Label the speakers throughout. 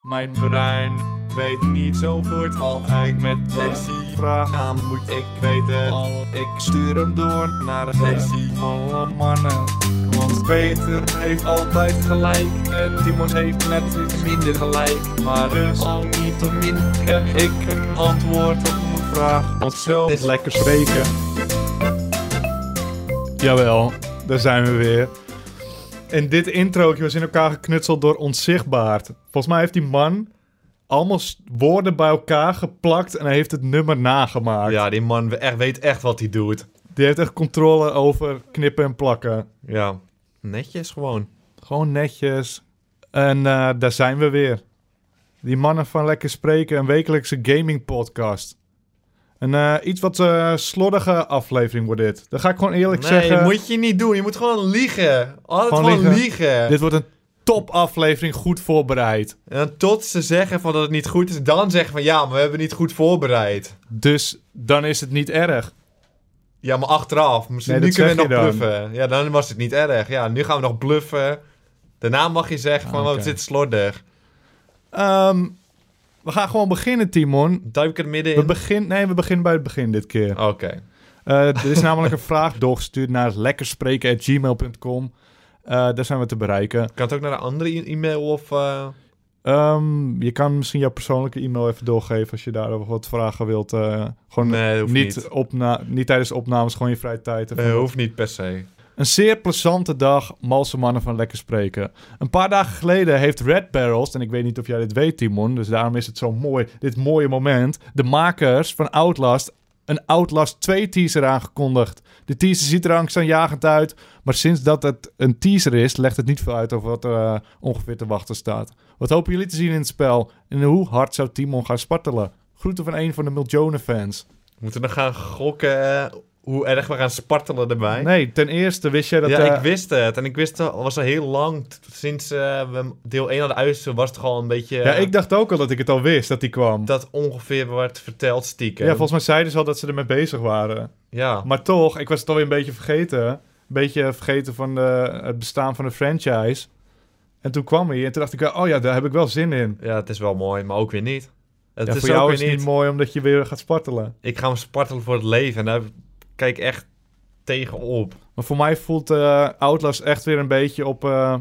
Speaker 1: Mijn brein weet niet zo voort wat ik met deze vraag aan moet. Ik weet het al, ik stuur hem door naar deze alle mannen. Want Peter heeft altijd gelijk en Timon heeft net iets minder gelijk. Maar dus al niet te min heb ik een antwoord op mijn vraag. Want zo is lekker spreken. Jawel, daar zijn we weer. En dit introotje was in elkaar geknutseld door Onzichtbaard. Volgens mij heeft die man allemaal s- woorden bij elkaar geplakt en hij heeft het nummer nagemaakt.
Speaker 2: Ja, die man we- echt, weet echt wat hij doet.
Speaker 1: Die heeft echt controle over knippen en plakken.
Speaker 2: Ja, netjes gewoon.
Speaker 1: Gewoon netjes. En eh, daar zijn we weer. Die mannen van Lekker Spreken, een wekelijkse gaming podcast. Een eh, iets wat eh, slordige aflevering wordt dit. Dat ga ik gewoon eerlijk
Speaker 2: nee,
Speaker 1: zeggen.
Speaker 2: moet je niet doen. Je moet gewoon liegen. Altijd
Speaker 1: Gewoon
Speaker 2: gewoon,
Speaker 1: liegen.
Speaker 2: liegen.
Speaker 1: Dit wordt een top aflevering, goed voorbereid.
Speaker 2: En dan tot ze zeggen van dat het niet goed is, dan zeggen van ja, maar we hebben niet goed voorbereid.
Speaker 1: Dus dan is het niet erg.
Speaker 2: Ja, maar achteraf. Misschien
Speaker 1: Nee,
Speaker 2: nu
Speaker 1: dat
Speaker 2: kunnen we
Speaker 1: zeg
Speaker 2: nog
Speaker 1: je dan.
Speaker 2: bluffen. Ja, dan was het niet erg. Ja, nu gaan we nog bluffen. Daarna mag je zeggen
Speaker 1: Ah,
Speaker 2: van wat
Speaker 1: oké.
Speaker 2: zit slordig.
Speaker 1: Ehm, we gaan gewoon beginnen, Timon.
Speaker 2: Duik ik er midden
Speaker 1: We
Speaker 2: in.
Speaker 1: begin, nee, we beginnen bij het begin dit keer.
Speaker 2: Oké.
Speaker 1: Eh, er is namelijk een vraag doorgestuurd naar lekkerspreken.gmail.com. Eh daar zijn we te bereiken.
Speaker 2: Kan het ook naar een andere e- e-mail of... eh,
Speaker 1: Ehm, je kan misschien jouw persoonlijke e-mail even doorgeven als je daarover wat vragen wilt. eh, gewoon
Speaker 2: Nee, hoeft
Speaker 1: niet,
Speaker 2: niet.
Speaker 1: opna- niet tijdens opnames, gewoon in je vrije tijd. even
Speaker 2: Nee, eh, hoeft niet per se.
Speaker 1: Een zeer plezante dag, malse mannen van Lekker Spreken. Een paar dagen geleden heeft Red Barrels, en ik weet niet of jij dit weet Timon, dus daarom is het zo mooi, dit mooie moment, de makers van Outlast een Outlast 2 teaser aangekondigd. De teaser ziet er angstaanjagend uit, maar sinds dat het een teaser is, legt het niet veel uit over wat er eh, ongeveer te wachten staat. Wat hopen jullie te zien in het spel? En hoe hard zou Timon gaan spartelen? Groeten van een van de miljoenen fans.
Speaker 2: We moeten nog gaan gokken eh, hoe erg we gaan spartelen erbij.
Speaker 1: Nee, ten eerste wist jij dat...
Speaker 2: ja,
Speaker 1: eh,
Speaker 2: ik wist het. En ik wist het al was al heel lang. t- Sinds eh, we deel 1 hadden uitgezonden, was het toch al een beetje...
Speaker 1: ja,
Speaker 2: eh,
Speaker 1: ik dacht ook al dat ik het al wist, dat die kwam.
Speaker 2: Dat ongeveer werd verteld stiekem.
Speaker 1: Ja, volgens mij zeiden ze al dat ze ermee bezig waren.
Speaker 2: Ja.
Speaker 1: Maar toch, ik was het alweer een beetje vergeten. Een beetje vergeten van de, het bestaan van de franchise. En toen kwam hij en toen dacht ik, wel, oh ja, daar heb ik wel zin in.
Speaker 2: ja, het is wel mooi, maar ook weer niet. Het
Speaker 1: Ja,
Speaker 2: is
Speaker 1: voor jou
Speaker 2: ook
Speaker 1: is
Speaker 2: weer
Speaker 1: het
Speaker 2: niet.
Speaker 1: niet mooi omdat je weer gaat spartelen.
Speaker 2: Ik ga hem spartelen voor het leven. En daar kijk ik echt tegenop.
Speaker 1: Maar voor mij voelt eh, Outlast echt weer een beetje op eh,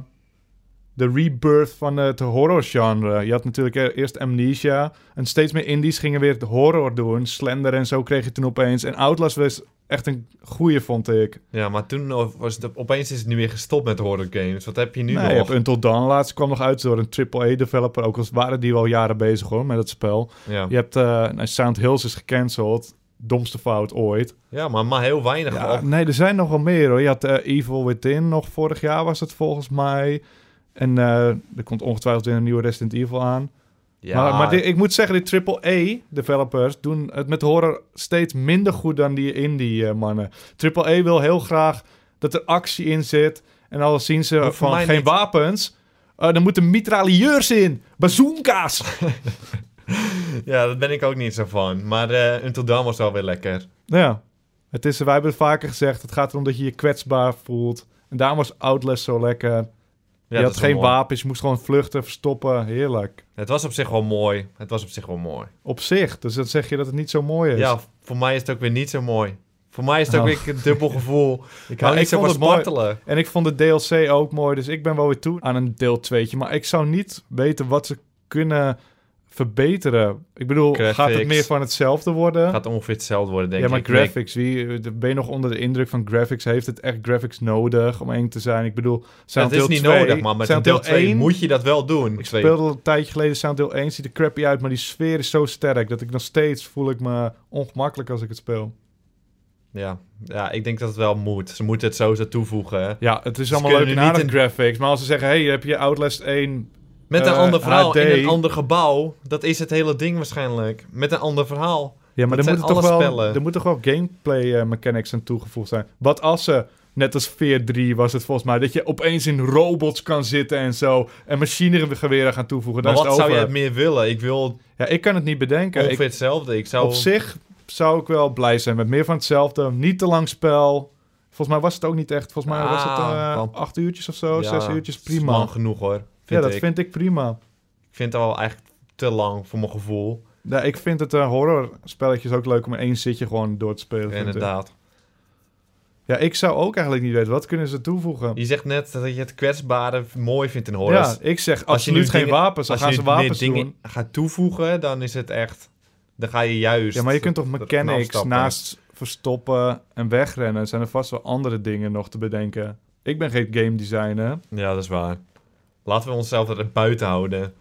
Speaker 1: de rebirth van het horrorgenre. Je had natuurlijk e- eerst Amnesia. En steeds meer indies gingen weer het horror doen. Slender en zo kreeg je toen opeens. En Outlast was echt een goeie, vond ik.
Speaker 2: Ja, maar toen was het... Opeens is het nu weer gestopt met horror games. Wat heb je nu
Speaker 1: nee, je
Speaker 2: nog?
Speaker 1: hebt Until Dawn laatst kwam nog uit door een AAA-developer. Ook al waren die al jaren bezig hoor, met het spel.
Speaker 2: Ja.
Speaker 1: Je hebt eh, nou, Sound Hills is gecanceld. Domste fout ooit.
Speaker 2: ja, maar, maar heel weinig.
Speaker 1: Ja,
Speaker 2: al.
Speaker 1: nee, er zijn nog wel meer hoor. Je had eh, Evil Within nog vorig jaar was het volgens mij. En eh, er komt ongetwijfeld weer een nieuwe Resident Evil aan.
Speaker 2: Ja,
Speaker 1: Maar, maar dit- ik moet zeggen, die AAA-developers doen het met horror steeds minder goed dan die eh, indie-mannen. AAA wil heel graag dat er actie in zit. En al zien ze
Speaker 2: Hoeft voor
Speaker 1: van
Speaker 2: mij
Speaker 1: geen
Speaker 2: niet.
Speaker 1: wapens, eh dan moeten mitrailleurs in. Bazooka's!
Speaker 2: ja, daar ben ik ook niet zo van. Maar eh Until Dawn was wel weer lekker.
Speaker 1: nou ja, het is, wij hebben het vaker gezegd, het gaat erom dat je je kwetsbaar voelt. En daarom was Outlast zo lekker.
Speaker 2: Ja,
Speaker 1: je
Speaker 2: dat
Speaker 1: had
Speaker 2: is wel
Speaker 1: geen
Speaker 2: mooi.
Speaker 1: wapens, je moest gewoon vluchten, verstoppen. Heerlijk.
Speaker 2: Het was op zich wel mooi. Het was op zich wel mooi.
Speaker 1: Op zich, dus dat zeg je dat het niet zo mooi is.
Speaker 2: Ja, voor mij is het ook weer niet zo mooi. Voor mij is het ook
Speaker 1: Dus- Oh.
Speaker 2: weer een dubbel gevoel. ik
Speaker 1: Maar
Speaker 2: hou
Speaker 1: ik
Speaker 2: niet zo
Speaker 1: vond
Speaker 2: van
Speaker 1: het mooi.
Speaker 2: spartelen.
Speaker 1: En ik vond de DLC ook mooi, dus ik ben wel weer toe aan een deel 2. Maar ik zou niet weten wat ze kunnen verbeteren. Ik bedoel,
Speaker 2: Graphics.
Speaker 1: gaat het meer van hetzelfde worden?
Speaker 2: Het gaat ongeveer hetzelfde worden, denk
Speaker 1: ja,
Speaker 2: ik.
Speaker 1: maar
Speaker 2: Ik denk-
Speaker 1: graphics, wie, ben je nog onder de indruk van graphics? Heeft het echt graphics nodig om eng te zijn? Ik bedoel, Silent
Speaker 2: Het is
Speaker 1: Hill
Speaker 2: niet
Speaker 1: 2,
Speaker 2: nodig, maar met
Speaker 1: Silent
Speaker 2: een deel
Speaker 1: Hill
Speaker 2: 2
Speaker 1: 1
Speaker 2: moet je dat wel doen.
Speaker 1: Ik
Speaker 2: Twee.
Speaker 1: speelde al een tijdje geleden Sound Hill 1, ziet er crappy uit, maar die sfeer is zo sterk dat ik nog steeds voel ik me ongemakkelijk als ik het speel.
Speaker 2: Ja. ja, ik denk dat het wel moet. Ze moeten het sowieso toevoegen. hè.
Speaker 1: Ja, het is
Speaker 2: Ze
Speaker 1: allemaal
Speaker 2: kunnen
Speaker 1: leuk
Speaker 2: nu
Speaker 1: naar
Speaker 2: niet
Speaker 1: de graphics, maar als ze zeggen, hey, heb je Outlast 1
Speaker 2: Met een
Speaker 1: Eh,
Speaker 2: ander verhaal
Speaker 1: HD.
Speaker 2: in een ander gebouw. Dat is het hele ding waarschijnlijk. Met een ander verhaal.
Speaker 1: Ja, maar
Speaker 2: Dat
Speaker 1: er
Speaker 2: zijn
Speaker 1: moeten, toch
Speaker 2: alle
Speaker 1: wel,
Speaker 2: spellen.
Speaker 1: er moeten toch wel gameplay eh, mechanics aan toegevoegd zijn. Wat als ze, net als Veer 3 was het volgens mij, dat je opeens in robots kan zitten en zo. En machinegeweren gaan toevoegen.
Speaker 2: Maar
Speaker 1: Daar
Speaker 2: wat
Speaker 1: is het
Speaker 2: zou
Speaker 1: over.
Speaker 2: jij meer willen? Ik wil
Speaker 1: Ja, ik kan het niet bedenken. Ik,
Speaker 2: ongeveer hetzelfde. Ik zou...
Speaker 1: op zich zou ik wel blij zijn met meer van hetzelfde. Niet te lang spel. Volgens mij was het ook niet echt. Volgens mij was het
Speaker 2: Ah,
Speaker 1: eh,
Speaker 2: want-
Speaker 1: acht uurtjes of zo,
Speaker 2: Ja,
Speaker 1: zes uurtjes.
Speaker 2: is
Speaker 1: Prima.
Speaker 2: lang genoeg hoor.
Speaker 1: Ja, dat
Speaker 2: ik.
Speaker 1: vind ik prima.
Speaker 2: Ik vind het al eigenlijk te lang voor mijn gevoel.
Speaker 1: Ja, ik vind het horrorspelletjes horror spelletjes ook leuk om in één zitje gewoon door te spelen. vind ik.
Speaker 2: Inderdaad.
Speaker 1: Ja, ik zou ook eigenlijk niet weten. Wat kunnen ze toevoegen?
Speaker 2: Je zegt net dat je het kwetsbare mooi vindt in horrors.
Speaker 1: Ja, ik zeg
Speaker 2: Als je nu
Speaker 1: absoluut geen
Speaker 2: dingen-
Speaker 1: wapens. Dan
Speaker 2: Als je
Speaker 1: gaan
Speaker 2: nu
Speaker 1: ze
Speaker 2: meer
Speaker 1: wapens
Speaker 2: dingen
Speaker 1: doen.
Speaker 2: gaat toevoegen, dan is het echt... Dan ga je juist...
Speaker 1: Ja, maar je kunt toch
Speaker 2: ervan
Speaker 1: mechanics
Speaker 2: afstappen.
Speaker 1: naast verstoppen en wegrennen. Zijn er vast wel andere dingen nog te bedenken. Ik ben geen game designer,
Speaker 2: Ja, dat is waar. Laten we onszelf er buiten houden.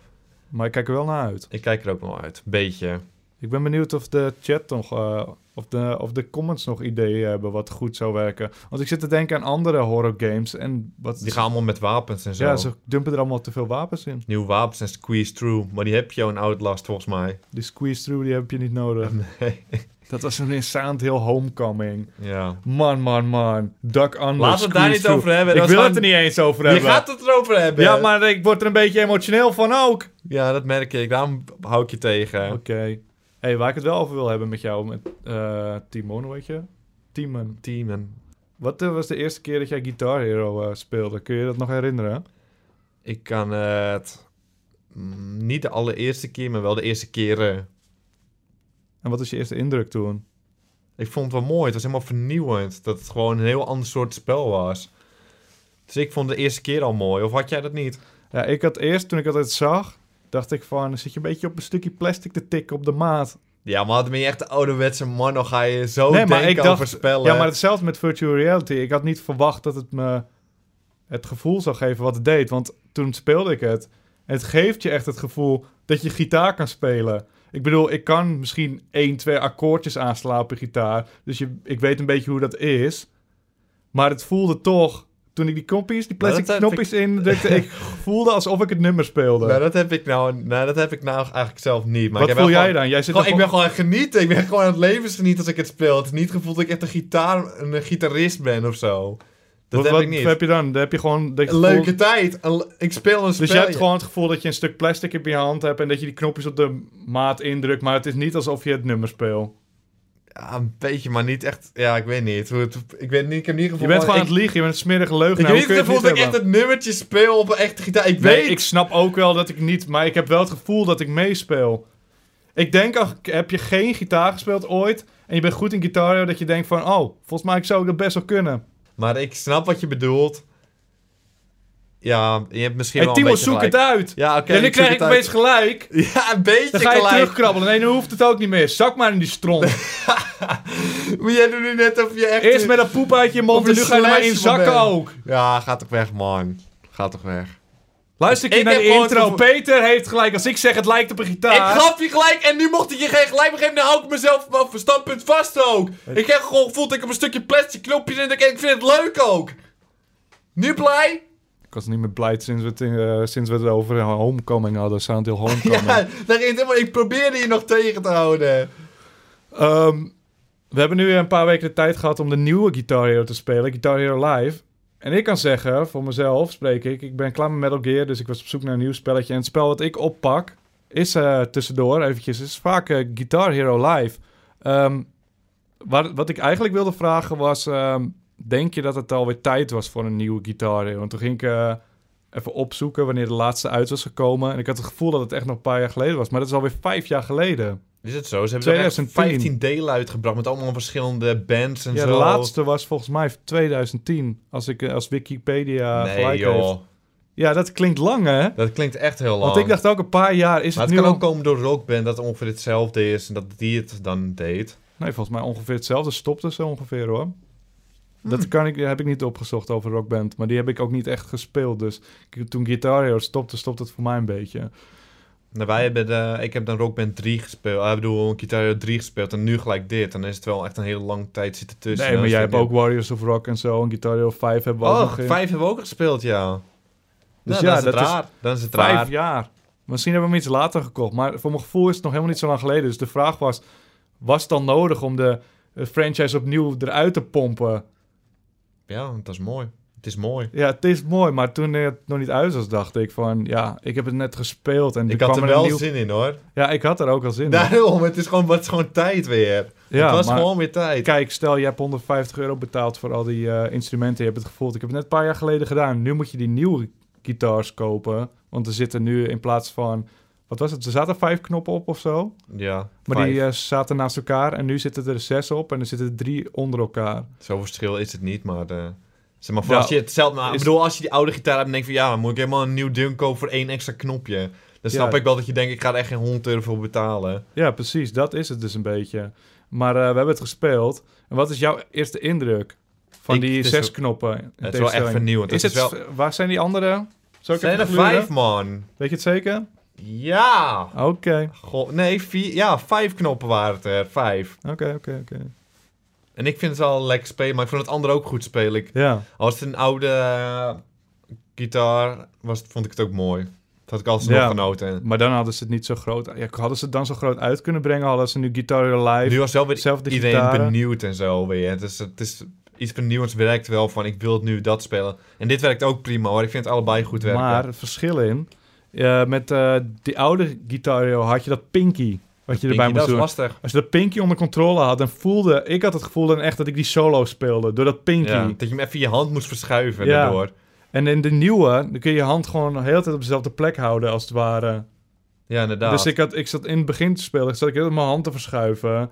Speaker 1: maar ik kijk er wel naar uit.
Speaker 2: Ik kijk er ook nog uit. Beetje.
Speaker 1: Ik ben benieuwd of de chat nog, eh, of, de, of de comments nog ideeën hebben wat goed zou werken. Want ik zit te denken aan andere horror games en wat...
Speaker 2: Die gaan allemaal met wapens en zo.
Speaker 1: ja, ze dumpen er allemaal te veel wapens in.
Speaker 2: Nieuwe wapens en squeeze through. Maar die heb je al in Outlast volgens mij.
Speaker 1: Die squeeze through, die heb je niet nodig.
Speaker 2: Nee.
Speaker 1: Dat was een in Silent Hill Homecoming.
Speaker 2: Ja.
Speaker 1: Man, man, man. Duck Under,
Speaker 2: Laten we het daar
Speaker 1: squeeze
Speaker 2: niet
Speaker 1: through.
Speaker 2: over hebben.
Speaker 1: Ik
Speaker 2: Dat
Speaker 1: wil
Speaker 2: is
Speaker 1: het er
Speaker 2: gewoon-
Speaker 1: niet eens over
Speaker 2: Je
Speaker 1: hebben.
Speaker 2: gaat het erover hebben.
Speaker 1: Ja, maar ik word er een beetje emotioneel van ook.
Speaker 2: Ja, dat merk ik. Daarom hou ik je tegen.
Speaker 1: Oké. hey, waar ik het wel over wil hebben met jou, met eh, Timon, hoe heet je? Timon.
Speaker 2: Teamen.
Speaker 1: Wat eh, was de eerste keer dat jij Guitar Hero eh, speelde? Kun je dat nog herinneren?
Speaker 2: Ik kan eh, het... mm, Niet de allereerste keer, maar wel de eerste keren.
Speaker 1: En wat was je eerste indruk toen?
Speaker 2: Ik vond het wel mooi. Het was helemaal vernieuwend. Dat het gewoon een heel ander soort spel was. Dus ik vond de eerste keer al mooi. Of had jij dat niet?
Speaker 1: Ja, ik had eerst, toen ik dat zag, dacht ik van... zit je een beetje op een stukje plastic te tikken op de maat.
Speaker 2: Ja, maar dan ben je echt de ouderwetse man. Dan ga je zo
Speaker 1: Nee, maar
Speaker 2: denken
Speaker 1: ik dacht-
Speaker 2: over spellen.
Speaker 1: Ja, maar hetzelfde met virtual reality. Ik had niet verwacht dat het me het gevoel zou geven wat het deed. Want toen speelde ik het. En het geeft je echt het gevoel dat je gitaar kan spelen. Ik bedoel, ik kan misschien één, twee akkoordjes aanslaan op een gitaar. Dus je, ik weet een beetje hoe dat is. Maar het voelde toch, toen ik die knopjes, die
Speaker 2: Maar
Speaker 1: plastic
Speaker 2: dat heb
Speaker 1: knopjes indrukte... ik voelde alsof ik het nummer speelde.
Speaker 2: Nou, dat heb ik nou, nou, dat heb ik nou eigenlijk zelf niet. Maar
Speaker 1: wat
Speaker 2: ik heb
Speaker 1: voel
Speaker 2: wel
Speaker 1: jij
Speaker 2: gewoon-
Speaker 1: dan? Jij zit
Speaker 2: gewoon-
Speaker 1: dan
Speaker 2: ik ben gewoon aan het genieten. Ik ben gewoon aan het levensgenieten als ik het speel. Het is niet het gevoel dat ik echt een, gitaar, een gitarist ben of zo. Dat
Speaker 1: wat,
Speaker 2: heb
Speaker 1: wat
Speaker 2: ik niet.
Speaker 1: heb je dan? Dan heb je gewoon... dat je
Speaker 2: Een
Speaker 1: gevoel-
Speaker 2: leuke tijd. Een le- ik speel een spel.
Speaker 1: Dus je hebt gewoon het gevoel dat je een stuk plastic in je hand hebt en dat je die knopjes op de maat indrukt, maar het is niet alsof je het nummer speelt.
Speaker 2: Ja, een beetje, maar niet echt... Ja, ik weet niet. hoe het- Ik, weet niet ik heb niet het
Speaker 1: Je
Speaker 2: gevoel...
Speaker 1: bent gewoon aan
Speaker 2: ik,
Speaker 1: het nou, liegen, je bent een smerige leugen.
Speaker 2: ik weet niet het gevoel dat ik echt het nummertje speel op een echte gitaar. Ik
Speaker 1: Nee,
Speaker 2: weet...
Speaker 1: ik snap ook wel dat ik niet, maar ik heb wel het gevoel dat ik meespeel. Ik denk, ach, heb je geen gitaar gespeeld ooit en je bent goed in gitaar, dat je denkt van, oh, volgens mij zou ik dat best wel kunnen.
Speaker 2: Maar ik snap wat je bedoelt. Ja, je hebt misschien
Speaker 1: Hé,
Speaker 2: wel een
Speaker 1: Timo,
Speaker 2: beetje
Speaker 1: zoek
Speaker 2: gelijk.
Speaker 1: het uit!
Speaker 2: Ja, oké.
Speaker 1: en nu
Speaker 2: ik zoek
Speaker 1: krijg ik
Speaker 2: het uit.
Speaker 1: opeens gelijk.
Speaker 2: Ja, een beetje
Speaker 1: Dan ga je
Speaker 2: gelijk.
Speaker 1: terugkrabbelen. Nee, nu hoeft het ook niet meer. Zak maar in die stront.
Speaker 2: Maar jij doet nu net of je echt...
Speaker 1: Eerst met een poep uit je mond
Speaker 2: Of
Speaker 1: en
Speaker 2: de
Speaker 1: nu ga je er maar in
Speaker 2: slijs van
Speaker 1: zakken
Speaker 2: ben.
Speaker 1: ook.
Speaker 2: Ja, ga toch weg, man. Ga toch weg.
Speaker 1: Luister een keer
Speaker 2: Ik
Speaker 1: naar
Speaker 2: heb
Speaker 1: de
Speaker 2: gewoon
Speaker 1: intro.
Speaker 2: het gevoel-
Speaker 1: Peter heeft gelijk. Als ik zeg het lijkt op een gitaar.
Speaker 2: Ik gaf je gelijk en nu mocht ik je geen gelijk meer geven. Dan hou ik mezelf van van standpunt vast ook. Ik heb gewoon gevoeld dat ik op een stukje plastic knopje zit. En ik vind het leuk ook. Nu blij?
Speaker 1: Ik was niet meer blij sinds we het, in, eh, sinds we het over Homecoming hadden. Silent Hill Homecoming.
Speaker 2: Ja, daar ging het helemaal. Ik probeerde je nog tegen te houden.
Speaker 1: Ehm, we hebben nu weer een paar weken de tijd gehad om de nieuwe Guitar Hero te spelen. Guitar Hero Live. En ik kan zeggen, voor mezelf spreek ik. Ik ben klaar met Metal Gear, dus ik was op zoek naar een nieuw spelletje. En het spel wat ik oppak is eh, tussendoor eventjes. Is vaak eh, Guitar Hero Live. Ehm, waar- wat ik eigenlijk wilde vragen was... ehm, denk je dat het alweer tijd was voor een nieuwe Guitar Hero? En toen ging ik eh, even opzoeken wanneer de laatste uit was gekomen. En ik had het gevoel dat het echt nog een paar jaar geleden was. Maar dat is alweer vijf jaar geleden.
Speaker 2: Is het zo? Ze
Speaker 1: hebben er echt 2010. 15
Speaker 2: delen uitgebracht met allemaal verschillende bands en
Speaker 1: Ja, de laatste was volgens mij 2010, als, ik, eh, als Wikipedia eh, gelijk heeft. Ja, dat klinkt lang, hè?
Speaker 2: Dat klinkt echt heel
Speaker 1: Want ik dacht ook een paar jaar is
Speaker 2: Maar
Speaker 1: het
Speaker 2: het
Speaker 1: nu
Speaker 2: kan
Speaker 1: al...
Speaker 2: ook komen door Rockband dat het ongeveer hetzelfde is en dat die het dan deed.
Speaker 1: Nee, volgens mij ongeveer hetzelfde. Stopte ze ongeveer, hoor. Dat kan ik, heb ik niet opgezocht over Rock Band. Maar die heb ik ook niet echt gespeeld. Dus ik- toen Guitar Hero stopte, stopte het voor mij een beetje.
Speaker 2: Nou, wij hebben de, ik heb dan Rockband 3 gespeeld, eh, ik bedoel Guitar Hero 3 gespeeld en nu gelijk dit. Dan is het wel echt een hele lange tijd zitten tussen.
Speaker 1: nee,
Speaker 2: Dat
Speaker 1: maar
Speaker 2: is
Speaker 1: jij
Speaker 2: weer
Speaker 1: hebt ook Warriors of Rock en zo. En Guitar Hero 5 hebben we ook nog
Speaker 2: eh, Oh,
Speaker 1: in.
Speaker 2: vijf hebben we ook gespeeld, ja.
Speaker 1: Dus
Speaker 2: Dus
Speaker 1: ja,
Speaker 2: ja, dan is het
Speaker 1: dat is
Speaker 2: raar. Dan is het raar.
Speaker 1: Vijf jaar. Misschien hebben we hem iets later gekocht. Maar voor mijn gevoel is het nog helemaal niet zo lang geleden. Dus de vraag was: was het dan nodig om de eh, franchise opnieuw eruit te pompen?
Speaker 2: Ja, dat is mooi. Het is mooi.
Speaker 1: Ja, het is mooi. Maar toen het nog niet uit was, dacht ik van ja, ik heb het net gespeeld. En
Speaker 2: Ik
Speaker 1: toen
Speaker 2: had
Speaker 1: kwam
Speaker 2: er
Speaker 1: er een
Speaker 2: wel
Speaker 1: nieuw-
Speaker 2: zin in hoor.
Speaker 1: Ja, ik had er ook al zin in.
Speaker 2: Daarom, het is gewoon, het is gewoon tijd weer.
Speaker 1: Ja,
Speaker 2: het was
Speaker 1: maar-
Speaker 2: gewoon weer tijd.
Speaker 1: Kijk, stel je hebt 150 euro betaald voor al die eh, instrumenten. Je hebt het gevoel, ik heb het net een paar jaar geleden gedaan. Nu moet je die nieuwe gitaars kopen. Want er zitten nu in plaats van Wat was het? Er zaten vijf knoppen op of zo.
Speaker 2: Ja,
Speaker 1: Maar
Speaker 2: vijf.
Speaker 1: die eh, zaten naast elkaar en nu zitten er zes op en er zitten drie onder elkaar.
Speaker 2: Zo verschil is het niet, maar... eh, zeg maar, voor als
Speaker 1: Ja,
Speaker 2: je hetzelfde... Maar,
Speaker 1: Nou, is-
Speaker 2: Ik bedoel, als je die oude gitaar hebt en denkt van... Ja, moet ik helemaal een nieuw ding kopen voor één extra knopje? Dan snap
Speaker 1: Ja.
Speaker 2: ik wel dat je denkt, ik ga er echt geen 100 euro voor betalen.
Speaker 1: Ja, precies. Dat is het dus een beetje. Maar eh, we hebben het gespeeld. En wat is jouw eerste indruk van
Speaker 2: Ik-
Speaker 1: die
Speaker 2: het is
Speaker 1: zes
Speaker 2: wel-
Speaker 1: knoppen? in
Speaker 2: wel
Speaker 1: tegenstelling?
Speaker 2: echt vernieuwend.
Speaker 1: Is
Speaker 2: Het
Speaker 1: het,
Speaker 2: is
Speaker 1: Waar zijn die andere? Zal
Speaker 2: Er
Speaker 1: ik
Speaker 2: zijn
Speaker 1: even
Speaker 2: er
Speaker 1: gluren?
Speaker 2: vijf, man.
Speaker 1: Weet je het zeker?
Speaker 2: Ja!
Speaker 1: Oké, oké,
Speaker 2: Goh, nee, vier, ja, vijf knoppen waren het er. Vijf.
Speaker 1: oké, oké.
Speaker 2: En ik vind het wel lekker spelen, maar ik vond het andere ook goed spelen. Ik,
Speaker 1: Ja,
Speaker 2: als het een oude eh, gitaar was, vond ik het ook mooi. Dat had ik alsnog
Speaker 1: Ja.
Speaker 2: genoten.
Speaker 1: maar dan hadden ze het niet zo groot... Ja, hadden ze het dan zo groot uit kunnen brengen? Hadden ze nu Guitar Live?
Speaker 2: Nu was wel weer
Speaker 1: Zelfde
Speaker 2: iedereen
Speaker 1: gitaren.
Speaker 2: benieuwd en zo weer. Het is, het is iets benieuwends werkt wel van, ik wil nu dat spelen. En dit werkt ook prima hoor, ik vind het allebei goed werken.
Speaker 1: Maar het verschil in... eh, met eh, die oude Guitar had je dat pinky... Wat je
Speaker 2: Pinky,
Speaker 1: erbij moest
Speaker 2: dat is
Speaker 1: doen.
Speaker 2: lastig.
Speaker 1: Als je dat pinky onder controle had, dan voelde... Ik had het gevoel dan echt dat ik die solo speelde. Door dat pinky.
Speaker 2: Ja, dat je hem even in je hand moest verschuiven
Speaker 1: Ja.
Speaker 2: daardoor.
Speaker 1: En in de nieuwe, dan kun je je hand gewoon de hele tijd op dezelfde plek houden, als het ware.
Speaker 2: Ja, inderdaad.
Speaker 1: Dus ik, had, ik zat in het begin te spelen, ik zat ik heel mijn hand te verschuiven.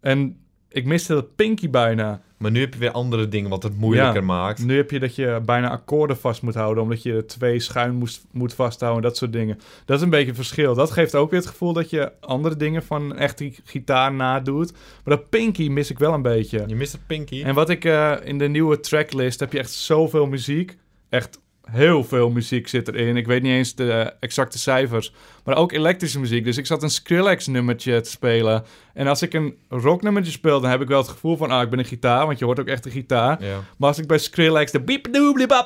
Speaker 1: En ik miste dat pinky bijna.
Speaker 2: Maar nu heb je weer andere dingen wat het moeilijker
Speaker 1: Ja.
Speaker 2: maakt.
Speaker 1: Nu heb je dat je bijna akkoorden vast moet houden, omdat je twee schuin moest, moet vasthouden, dat soort dingen. Dat is een beetje het verschil. Dat geeft ook weer het gevoel dat je andere dingen van een echte gitaar nadoet. Maar dat pinky mis ik wel een beetje.
Speaker 2: Je mist het pinky.
Speaker 1: En wat ik eh, in de nieuwe tracklist heb je echt zoveel muziek. Echt heel veel muziek zit erin. Ik weet niet eens de eh, exacte cijfers. Maar ook elektrische muziek. Dus ik zat een Skrillex nummertje te spelen. En als ik een rocknummertje speel, dan heb ik wel het gevoel van... Ah, ik ben een gitaar, want je hoort ook echt een gitaar.
Speaker 2: Ja.
Speaker 1: Maar als ik bij Skrillex de biep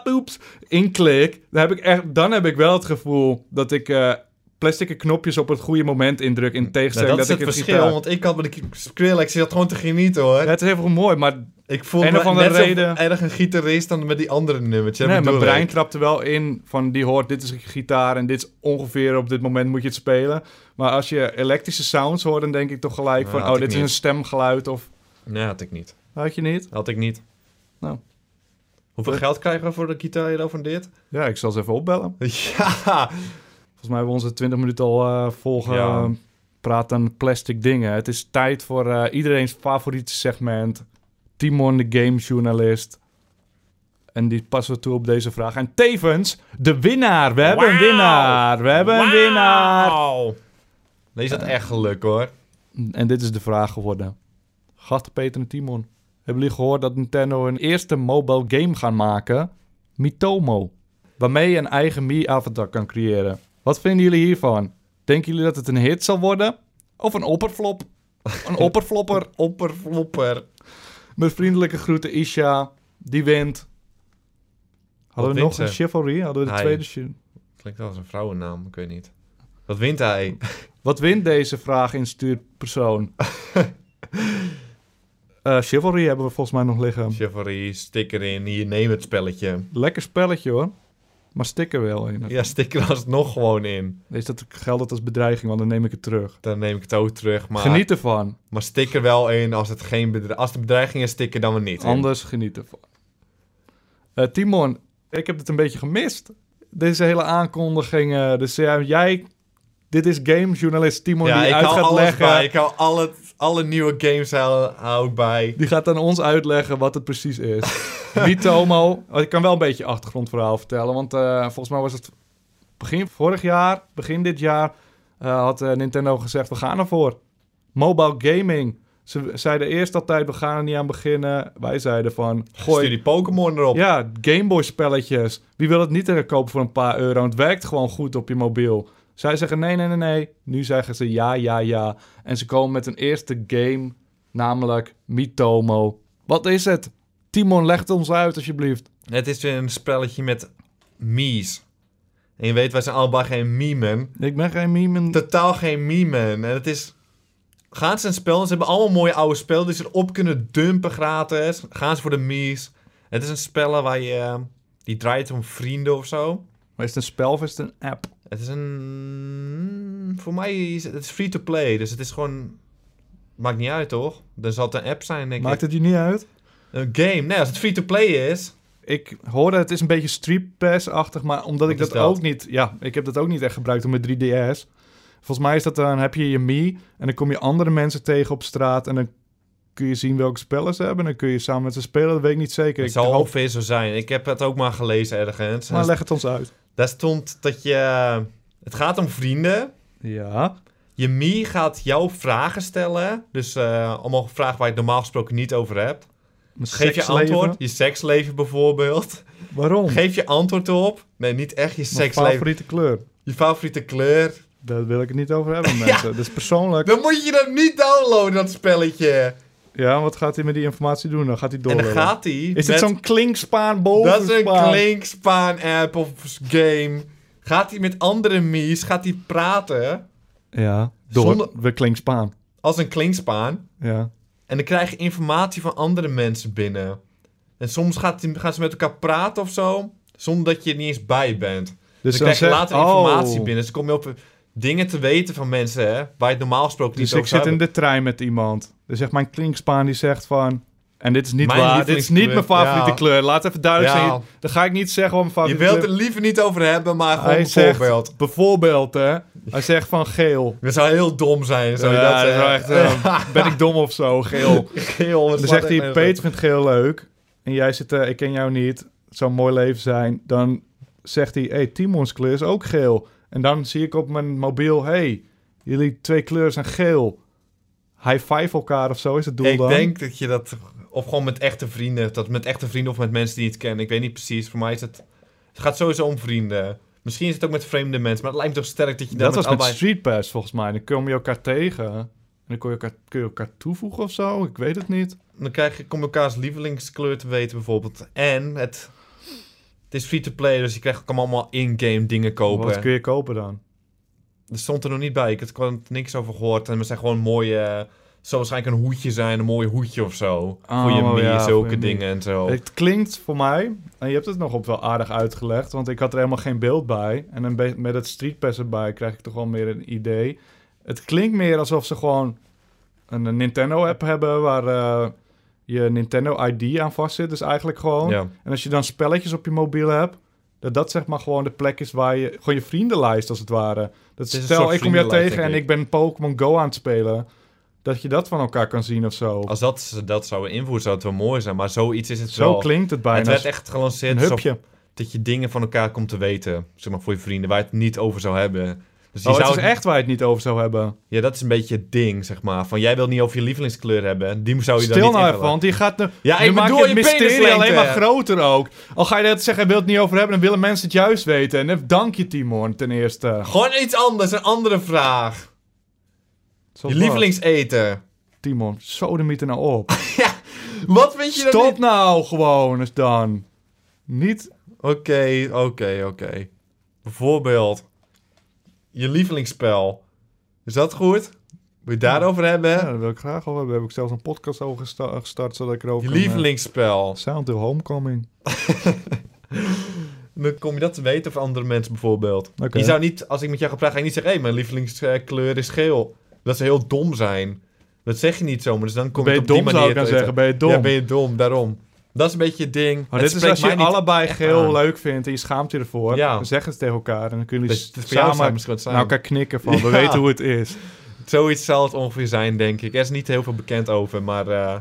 Speaker 1: boeps inklik... Dan heb, ik echt, dan heb ik wel het gevoel dat ik... eh plastieke knopjes op het goede moment indruk. In
Speaker 2: Nou,
Speaker 1: tegenstelling
Speaker 2: dat is het
Speaker 1: ik een
Speaker 2: verschil,
Speaker 1: gitaar...
Speaker 2: want ik had bij de Skrillex zat gewoon te genieten hoor.
Speaker 1: Ja, het is heel mooi, maar
Speaker 2: Ik voelde
Speaker 1: Een
Speaker 2: me
Speaker 1: of andere
Speaker 2: net zo
Speaker 1: reden-
Speaker 2: erg een gitarist dan met die andere nummertje.
Speaker 1: Nee, mijn
Speaker 2: bedoel
Speaker 1: brein
Speaker 2: ik.
Speaker 1: trapte wel in van die hoort, dit is een gitaar en dit is ongeveer op dit moment moet je het spelen. Maar als je elektrische sounds hoort, dan denk ik toch gelijk
Speaker 2: Nou,
Speaker 1: van,
Speaker 2: had
Speaker 1: oh,
Speaker 2: ik
Speaker 1: dit is
Speaker 2: niet.
Speaker 1: een stemgeluid of...
Speaker 2: Nee, had ik niet.
Speaker 1: Had je niet?
Speaker 2: Had ik niet.
Speaker 1: Nou.
Speaker 2: Hoeveel geld krijgen we voor de gitaar hier van dit?
Speaker 1: Ja, ik zal ze even opbellen.
Speaker 2: Ja!
Speaker 1: Volgens mij hebben we onze 20 minuten al eh vol
Speaker 2: Ja.
Speaker 1: gepraat aan plastic dingen. Het is tijd voor eh, iedereen's favoriete segment. Timon, de gamejournalist. En die passen we toe op deze vraag. En tevens, de winnaar. We hebben een
Speaker 2: Wauw.
Speaker 1: winnaar. We hebben een
Speaker 2: Wauw.
Speaker 1: winnaar.
Speaker 2: Nee, is dat echt geluk hoor.
Speaker 1: En dit is de vraag geworden. Gasten Peter en Timon. Hebben jullie gehoord dat Nintendo een eerste mobile game gaan maken? Mitomo. Waarmee je een eigen Mii-avatar kan creëren. Wat vinden jullie hiervan? Denken jullie dat het een hit zal worden? Of een opperflop? Een opperflopper?
Speaker 2: Opperflopper.
Speaker 1: Met vriendelijke groeten Isha. Die wint. Hadden we
Speaker 2: wint
Speaker 1: nog een
Speaker 2: ze?
Speaker 1: chivalry? Hadden we de
Speaker 2: Hij.
Speaker 1: tweede chi-
Speaker 2: Klinkt wel als een vrouwennaam, ik weet niet. Wat wint hij?
Speaker 1: Wat wint deze vraag instuurpersoon? Eh chivalry hebben we volgens mij nog liggen.
Speaker 2: Chivalry, sticker in, hier neem het spelletje.
Speaker 1: Lekker spelletje hoor. Maar stik er wel in.
Speaker 2: Ja, sticker er alsnog gewoon in.
Speaker 1: Is dat geldt dat als bedreiging, want dan neem ik het terug.
Speaker 2: Dan neem ik het ook terug, maar...
Speaker 1: Geniet ervan.
Speaker 2: Maar stik er wel in als het geen bedre- als de bedreiging is, stik er dan maar niet. in.
Speaker 1: Anders geniet ervan. Eh, Timon, ik heb het een beetje gemist. Deze hele aankondiging. eh, dus ja, jij. Dit is gamejournalist Timon
Speaker 2: ja,
Speaker 1: die
Speaker 2: ik
Speaker 1: uit
Speaker 2: hou
Speaker 1: gaat
Speaker 2: alles
Speaker 1: leggen.
Speaker 2: bij. Ik hou alle, alle nieuwe games hou, hou ik bij.
Speaker 1: Die gaat aan ons uitleggen wat het precies is. Mitomo. Oh, Ik kan wel een beetje achtergrondverhaal vertellen. Want eh, volgens mij was het begin vorig jaar, begin dit jaar, eh, had eh, Nintendo gezegd: we gaan ervoor. Mobile gaming. Ze zeiden eerst altijd: we gaan er niet aan beginnen. Wij zeiden van:
Speaker 2: Stuur
Speaker 1: gooi.
Speaker 2: die Pokémon erop.
Speaker 1: Ja, Gameboy spelletjes. Wie wil het niet eh, kopen voor een paar euro? Het werkt gewoon goed op je mobiel. Zij zeggen nee, nee, nee, nee. Nu zeggen ze ja, ja, ja. En ze komen met een eerste game, namelijk Mitomo. Wat is het? Timon, leg het ons uit alsjeblieft.
Speaker 2: Het is weer een spelletje met mies. En je weet, wij zijn allebei geen memen.
Speaker 1: Ik ben geen meme.
Speaker 2: Totaal geen memen. En het is... Gaan ze een spel, ze hebben allemaal mooie oude spellen die ze erop kunnen dumpen gratis. Gaan ze voor de mies. Het is een spel waar je... eh, Die draait om vrienden of zo.
Speaker 1: Maar is het een spel of is het een app?
Speaker 2: Het is een. Voor mij is het het is free to play, dus het is gewoon. Maakt niet uit toch? Dan zal het een app zijn, denk
Speaker 1: Maakt
Speaker 2: ik.
Speaker 1: het je niet uit?
Speaker 2: Een game. Nee, als het free to play is.
Speaker 1: Ik hoorde het is een beetje Street Pass-achtig, maar omdat
Speaker 2: Wat
Speaker 1: ik dat,
Speaker 2: is dat?
Speaker 1: ook niet... Ja, ik heb dat ook niet echt gebruikt op mijn 3DS. Volgens mij is dat eh, dan heb je je Mii en dan kom je andere mensen tegen op straat en dan kun je zien welke spellen ze hebben. En dan kun je samen met ze spelen, dat weet ik niet zeker.
Speaker 2: Het
Speaker 1: Ik
Speaker 2: zal
Speaker 1: hoop,
Speaker 2: ongeveer zo zijn. Ik heb het ook maar gelezen ergens. En
Speaker 1: maar leg het ons uit.
Speaker 2: Daar stond dat je... Het gaat om vrienden.
Speaker 1: Ja,
Speaker 2: Je Mii gaat jou vragen stellen. Dus eh, allemaal vragen waar je het normaal gesproken niet over hebt.
Speaker 1: mijn
Speaker 2: Geef je
Speaker 1: seksleven.
Speaker 2: antwoord. Je seksleven bijvoorbeeld.
Speaker 1: Waarom?
Speaker 2: Geef je antwoord op. Nee, niet echt je
Speaker 1: Mijn
Speaker 2: seksleven.
Speaker 1: favoriete kleur.
Speaker 2: Je favoriete kleur.
Speaker 1: Daar wil ik het niet over hebben, mensen. Dat is persoonlijk.
Speaker 2: Dan moet je dat niet downloaden, dat spelletje.
Speaker 1: Ja, wat gaat hij met die informatie doen? Dan gaat hij door.
Speaker 2: En dan gaat hij.
Speaker 1: Is dit zo'n klinkspaan boven?
Speaker 2: Dat is een klinkspaan-app of game. Gaat hij met andere mies, gaat hij praten
Speaker 1: Ja, door.
Speaker 2: Zonder-
Speaker 1: We klinkspaan.
Speaker 2: als een klinkspaan.
Speaker 1: Ja.
Speaker 2: En dan krijg je informatie van andere mensen binnen. En soms gaat die, gaan ze met elkaar praten of zo, zonder dat je er niet eens bij bent. Dus dan, krijg je
Speaker 1: zegt-
Speaker 2: later informatie
Speaker 1: oh.
Speaker 2: binnen. Dus dan kom je op dingen te weten van mensen, hè, waar je het normaal gesproken niet
Speaker 1: Dus ik
Speaker 2: over zou
Speaker 1: zit in
Speaker 2: hebben.
Speaker 1: de trein met iemand. Dan zegt mijn klinkspaan die zegt van... En dit is niet
Speaker 2: Mijn
Speaker 1: waar, dit is niet mijn
Speaker 2: lievelingskleur,
Speaker 1: favoriete
Speaker 2: ja.
Speaker 1: kleur. Laat even duidelijk
Speaker 2: Ja.
Speaker 1: zijn. Dan ga ik niet zeggen wat mijn
Speaker 2: Je
Speaker 1: favoriete
Speaker 2: wilt het
Speaker 1: kleur
Speaker 2: er liever niet over hebben, maar gewoon
Speaker 1: Hij
Speaker 2: een
Speaker 1: zegt,
Speaker 2: voorbeeld.
Speaker 1: bijvoorbeeld hè. Hij zegt van geel.
Speaker 2: Dat zou heel dom zijn, zou je
Speaker 1: Ja,
Speaker 2: dat
Speaker 1: dat is
Speaker 2: zeggen.
Speaker 1: wel echt, eh, ben ik dom of zo, geel.
Speaker 2: Geel,
Speaker 1: Dan
Speaker 2: wat slaat
Speaker 1: zegt
Speaker 2: echt
Speaker 1: hij,
Speaker 2: nergens op.
Speaker 1: Peter vindt geel leuk. En jij zit, eh, ik ken jou niet. Het zou een mooi leven zijn. Dan zegt hij, hey, Timons kleur is ook geel. En dan zie ik op mijn mobiel, hey, jullie twee kleuren zijn geel. High five elkaar of zo is het doel
Speaker 2: ik
Speaker 1: dan.
Speaker 2: denk dat je dat... Of gewoon met echte vrienden. Dat met echte vrienden of met mensen die het kennen. Ik weet niet precies. Voor mij is het... Het gaat sowieso om vrienden. Misschien is het ook met vreemde mensen. Maar het lijkt me toch sterk dat je daar
Speaker 1: dat
Speaker 2: met
Speaker 1: was met
Speaker 2: allebei...
Speaker 1: Street Pass volgens mij. Dan kom je elkaar tegen. En dan kun je elkaar, kun je elkaar toevoegen of zo. Ik weet het niet.
Speaker 2: Dan krijg je, kom je elkaars lievelingskleur te weten bijvoorbeeld. En het... Het is free-to-play, dus je krijgt, kan allemaal in-game dingen kopen.
Speaker 1: Wat kun je kopen dan?
Speaker 2: Er stond er nog niet bij. Ik had er gewoon niks over gehoord. En het zijn gewoon mooie... eh, Zou waarschijnlijk een hoedje zijn, een mooi hoedje of zo.
Speaker 1: Oh,
Speaker 2: voor je mee,
Speaker 1: ja, voor
Speaker 2: zulke
Speaker 1: je mee.
Speaker 2: dingen en zo.
Speaker 1: Het klinkt voor mij, en je hebt het nog op wel aardig uitgelegd, want ik had er helemaal geen beeld bij. En een be- met het streetpass erbij krijg ik toch wel meer een idee. Het klinkt meer alsof ze gewoon een, een Nintendo-app hebben waar eh, je Nintendo-ID aan vast zit. Dus eigenlijk gewoon.
Speaker 2: Ja.
Speaker 1: En als je dan spelletjes op je mobiel hebt, dat dat zeg maar gewoon de plek is waar je gewoon je vriendenlijst als het ware. Dat
Speaker 2: is een
Speaker 1: stel,
Speaker 2: soort
Speaker 1: ik kom jou
Speaker 2: vriendenlijst,
Speaker 1: tegen en
Speaker 2: denk
Speaker 1: ik.
Speaker 2: ik.
Speaker 1: ben Pokémon Go aan het spelen. Dat je dat van elkaar kan zien of zo.
Speaker 2: Als dat ze dat zouden invoeren, zou het wel mooi zijn. Maar zoiets is het
Speaker 1: Zo
Speaker 2: wel.
Speaker 1: klinkt het bijna.
Speaker 2: het werd echt gelanceerd
Speaker 1: een
Speaker 2: alsof-
Speaker 1: hupje.
Speaker 2: dat je dingen van elkaar komt te weten. Zeg maar voor je vrienden, waar je het niet over zou hebben. Dus je
Speaker 1: Oh, het
Speaker 2: zou...
Speaker 1: is echt waar je het niet over zou hebben.
Speaker 2: Ja, dat is een beetje het ding, zeg maar. Van jij wil niet over je lievelingskleur hebben. Die zou je dan
Speaker 1: Stil nou
Speaker 2: niet
Speaker 1: even,
Speaker 2: invullen.
Speaker 1: want die gaat nu...
Speaker 2: Ja,
Speaker 1: nu
Speaker 2: ik
Speaker 1: maak
Speaker 2: bedoel
Speaker 1: je het
Speaker 2: je
Speaker 1: mysterie
Speaker 2: penislengte.
Speaker 1: alleen maar groter ook. Al ga je dat zeggen, wil het niet over hebben, dan willen mensen het juist weten. En dan dank je Timon ten eerste.
Speaker 2: Gewoon iets anders, een andere vraag. Je lievelingseten.
Speaker 1: Timon, sodemiet er nou op.
Speaker 2: Wat vind je dan
Speaker 1: Stop
Speaker 2: niet?
Speaker 1: nou gewoon eens dan. Niet...
Speaker 2: Oké, oké, oké. Bijvoorbeeld, je lievelingsspel. Is dat goed? Wil je het daarover hebben?
Speaker 1: Ja, dat wil ik graag over hebben. Daar heb ik zelfs een podcast over gesta- gestart, zodat ik erover
Speaker 2: Je
Speaker 1: kan, eh,
Speaker 2: lievelingsspel.
Speaker 1: Sound of Homecoming.
Speaker 2: Dan kom je dat te weten van andere mensen bijvoorbeeld.
Speaker 1: Oké.
Speaker 2: Je zou niet, als ik met jou ga praten, ga je niet zeggen... hé, mijn lievelingskleur is geel. Dat ze heel dom zijn. Dat zeg je niet zomaar, dus dan kom
Speaker 1: Ben
Speaker 2: je
Speaker 1: je
Speaker 2: het op die
Speaker 1: dom,
Speaker 2: manier
Speaker 1: zou ik
Speaker 2: te
Speaker 1: dan zeggen.
Speaker 2: weten.
Speaker 1: Ben je dom?
Speaker 2: Ja, ben je dom, daarom. Dat is een beetje het ding.
Speaker 1: Maar dit
Speaker 2: Het
Speaker 1: is
Speaker 2: spreekt
Speaker 1: als je
Speaker 2: mij niet-
Speaker 1: allebei geel
Speaker 2: aan.
Speaker 1: leuk vindt en je schaamt je ervoor.
Speaker 2: Ja.
Speaker 1: Dan zeggen ze tegen elkaar en dan kunnen
Speaker 2: Dat
Speaker 1: jullie
Speaker 2: is- dat is voor jou zou het
Speaker 1: samen
Speaker 2: misschien wat zijn.
Speaker 1: naar elkaar Nou, knikken van we
Speaker 2: Ja.
Speaker 1: weten hoe het is.
Speaker 2: Zoiets zal het ongeveer zijn, denk ik. Er is niet heel veel bekend over, maar... eh,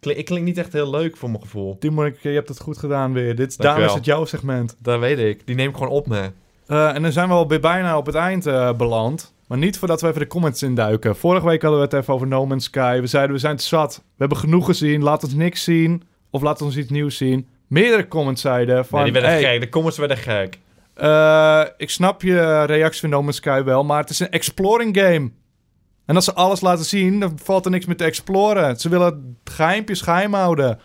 Speaker 2: kli- ik klink niet echt heel leuk voor mijn gevoel.
Speaker 1: Timon, ik- je hebt het goed gedaan weer. Dit, is- daarom
Speaker 2: Dankjewel.
Speaker 1: is het jouw segment.
Speaker 2: Dat weet ik. Die neem ik gewoon op me.
Speaker 1: Eh, en dan zijn we alweer bijna op het eind eh, beland. Maar niet voordat we even de comments induiken. Vorige week hadden we het even over No Man's Sky. We zeiden we zijn het zat. We hebben genoeg gezien. Laat ons niks zien. Of laat ons iets nieuws zien. Meerdere comments zeiden van...
Speaker 2: Nee, die werden
Speaker 1: hey,
Speaker 2: gek. De comments werden gek.
Speaker 1: Eh, ik snap je reactie van No Man's Sky wel, maar het is een exploring game. En als ze alles laten zien, dan valt er niks meer te exploren. Ze willen het geheimpje geheim houden.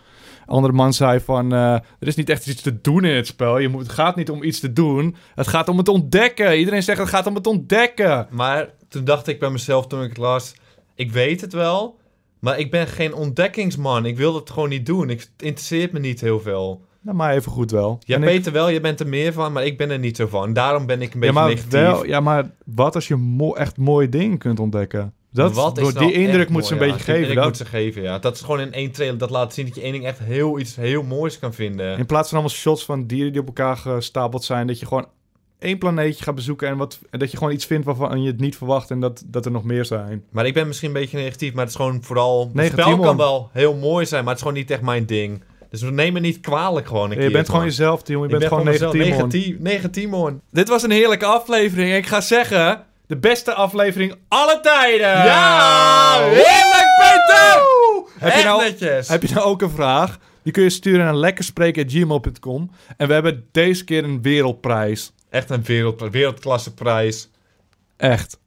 Speaker 1: Andere man zei van, eh, er is niet echt iets te doen in het spel. Je moet, het gaat niet om iets te doen, het gaat om het ontdekken. Iedereen zegt het gaat om het ontdekken.
Speaker 2: Maar toen dacht ik bij mezelf toen ik het las, ik weet het wel, maar ik ben geen ontdekkingsman. Ik wil dat gewoon niet doen. Ik het interesseert me niet heel veel.
Speaker 1: Nou, maar even goed wel.
Speaker 2: Jij
Speaker 1: En ik-
Speaker 2: weet er wel, je bent er meer van, maar ik ben er niet zo van. Daarom ben ik een
Speaker 1: ja,
Speaker 2: beetje
Speaker 1: maar
Speaker 2: negatief.
Speaker 1: wel- ja, maar wat als je mo- echt mooie dingen kunt ontdekken? Dat,
Speaker 2: Wat is
Speaker 1: door,
Speaker 2: nou
Speaker 1: die indruk
Speaker 2: echt
Speaker 1: moet ze een
Speaker 2: mooi, ja.
Speaker 1: beetje
Speaker 2: Die
Speaker 1: geven.
Speaker 2: indruk
Speaker 1: Dat,
Speaker 2: moet ze geven, ja. Dat is gewoon in één trailer, dat laat zien dat je één ding echt heel iets heel moois kan vinden.
Speaker 1: In plaats van allemaal shots van dieren die op elkaar gestapeld zijn, dat je gewoon één planeetje gaat bezoeken en, wat, en dat je gewoon iets vindt waarvan je het niet verwacht en dat, dat er nog meer zijn.
Speaker 2: Maar ik ben misschien een beetje negatief, maar het is gewoon vooral... Het
Speaker 1: Negatief,
Speaker 2: spel
Speaker 1: man.
Speaker 2: kan wel heel mooi zijn, maar het is gewoon niet echt mijn ding. Dus neem me niet kwalijk gewoon een
Speaker 1: Je
Speaker 2: keer.
Speaker 1: bent gewoon
Speaker 2: man.
Speaker 1: jezelf, Timon. Je
Speaker 2: Ik
Speaker 1: bent
Speaker 2: ben
Speaker 1: gewoon
Speaker 2: mezelf.
Speaker 1: negatief, man.
Speaker 2: negatief, negatief, man. Dit was een heerlijke aflevering. Ik ga zeggen...
Speaker 1: De beste aflevering alle tijden!
Speaker 2: Ja!
Speaker 1: Woe!
Speaker 2: Heerlijk, Peter!
Speaker 1: Heb je
Speaker 2: Echt
Speaker 1: nou-
Speaker 2: netjes.
Speaker 1: Heb je nou ook een vraag? Die kun je sturen naar lekkerspreken.gmail.com. En we hebben deze keer een wereldprijs.
Speaker 2: Echt een wereld, wereldklasse prijs.
Speaker 1: Echt.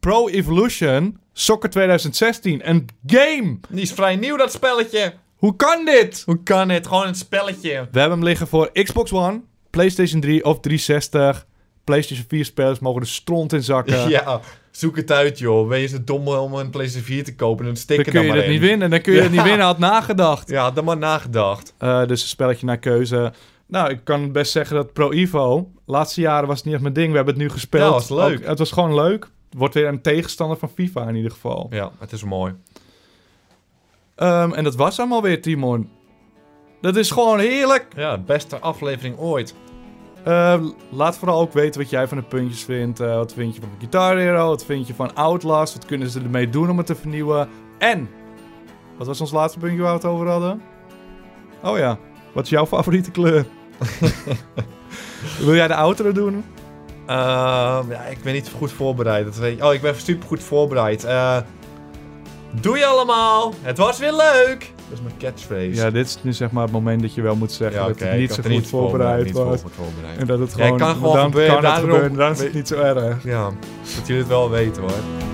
Speaker 1: Pro Evolution Soccer 2016. Een game!
Speaker 2: Die is vrij nieuw, dat spelletje.
Speaker 1: Hoe kan dit?
Speaker 2: Hoe kan het? Gewoon een spelletje.
Speaker 1: We hebben hem liggen voor Xbox One, PlayStation 3 of 360. PlayStation 4 spelers mogen de stront in zakken.
Speaker 2: Ja, zoek het uit, joh. Wees het dom om een PlayStation 4 te kopen en een
Speaker 1: Dan
Speaker 2: sticker
Speaker 1: kun je
Speaker 2: maar
Speaker 1: het niet
Speaker 2: in.
Speaker 1: winnen. Dan kun je het niet
Speaker 2: Ja.
Speaker 1: winnen, had nagedacht.
Speaker 2: Ja, had er maar nagedacht.
Speaker 1: Eh, dus een spelletje naar keuze. Nou, ik kan best zeggen dat Pro Evo... laatste jaren was het niet echt mijn ding. We hebben het nu gespeeld.
Speaker 2: Ja, Nou, was leuk.
Speaker 1: Ook- het was gewoon leuk. Het wordt weer een tegenstander van FIFA in ieder geval.
Speaker 2: Ja, het is mooi.
Speaker 1: Ehm, en dat was allemaal weer, Timon. Dat is gewoon heerlijk.
Speaker 2: Ja, beste aflevering ooit.
Speaker 1: Eh, laat vooral ook weten wat jij van de puntjes vindt. Eh, wat vind je van Guitar Hero? Wat vind je van Outlast? Wat kunnen ze ermee doen om het te vernieuwen? En, wat was ons laatste puntje waar we het over hadden? Oh ja, wat is jouw favoriete kleur? Wil jij de outro doen?
Speaker 2: Ehm, ja, ik ben niet goed voorbereid. Dat weet ik. Oh, ik ben super goed voorbereid. Eh, doei allemaal. Het was weer leuk. Dat is mijn catchphrase.
Speaker 1: Ja, dit is nu zeg maar het moment dat je wel moet zeggen
Speaker 2: Ja,
Speaker 1: dat
Speaker 2: oké,
Speaker 1: het
Speaker 2: ik
Speaker 1: niet
Speaker 2: had
Speaker 1: zo
Speaker 2: er
Speaker 1: goed voorbereid
Speaker 2: niet
Speaker 1: was.
Speaker 2: goed voorbereid.
Speaker 1: En dat het
Speaker 2: Ja,
Speaker 1: gewoon,
Speaker 2: kan gewoon
Speaker 1: dan
Speaker 2: gebeuren,
Speaker 1: kan het
Speaker 2: daarom-
Speaker 1: gebeuren, dan is het niet zo erg.
Speaker 2: Ja, dat jullie het wel weten hoor.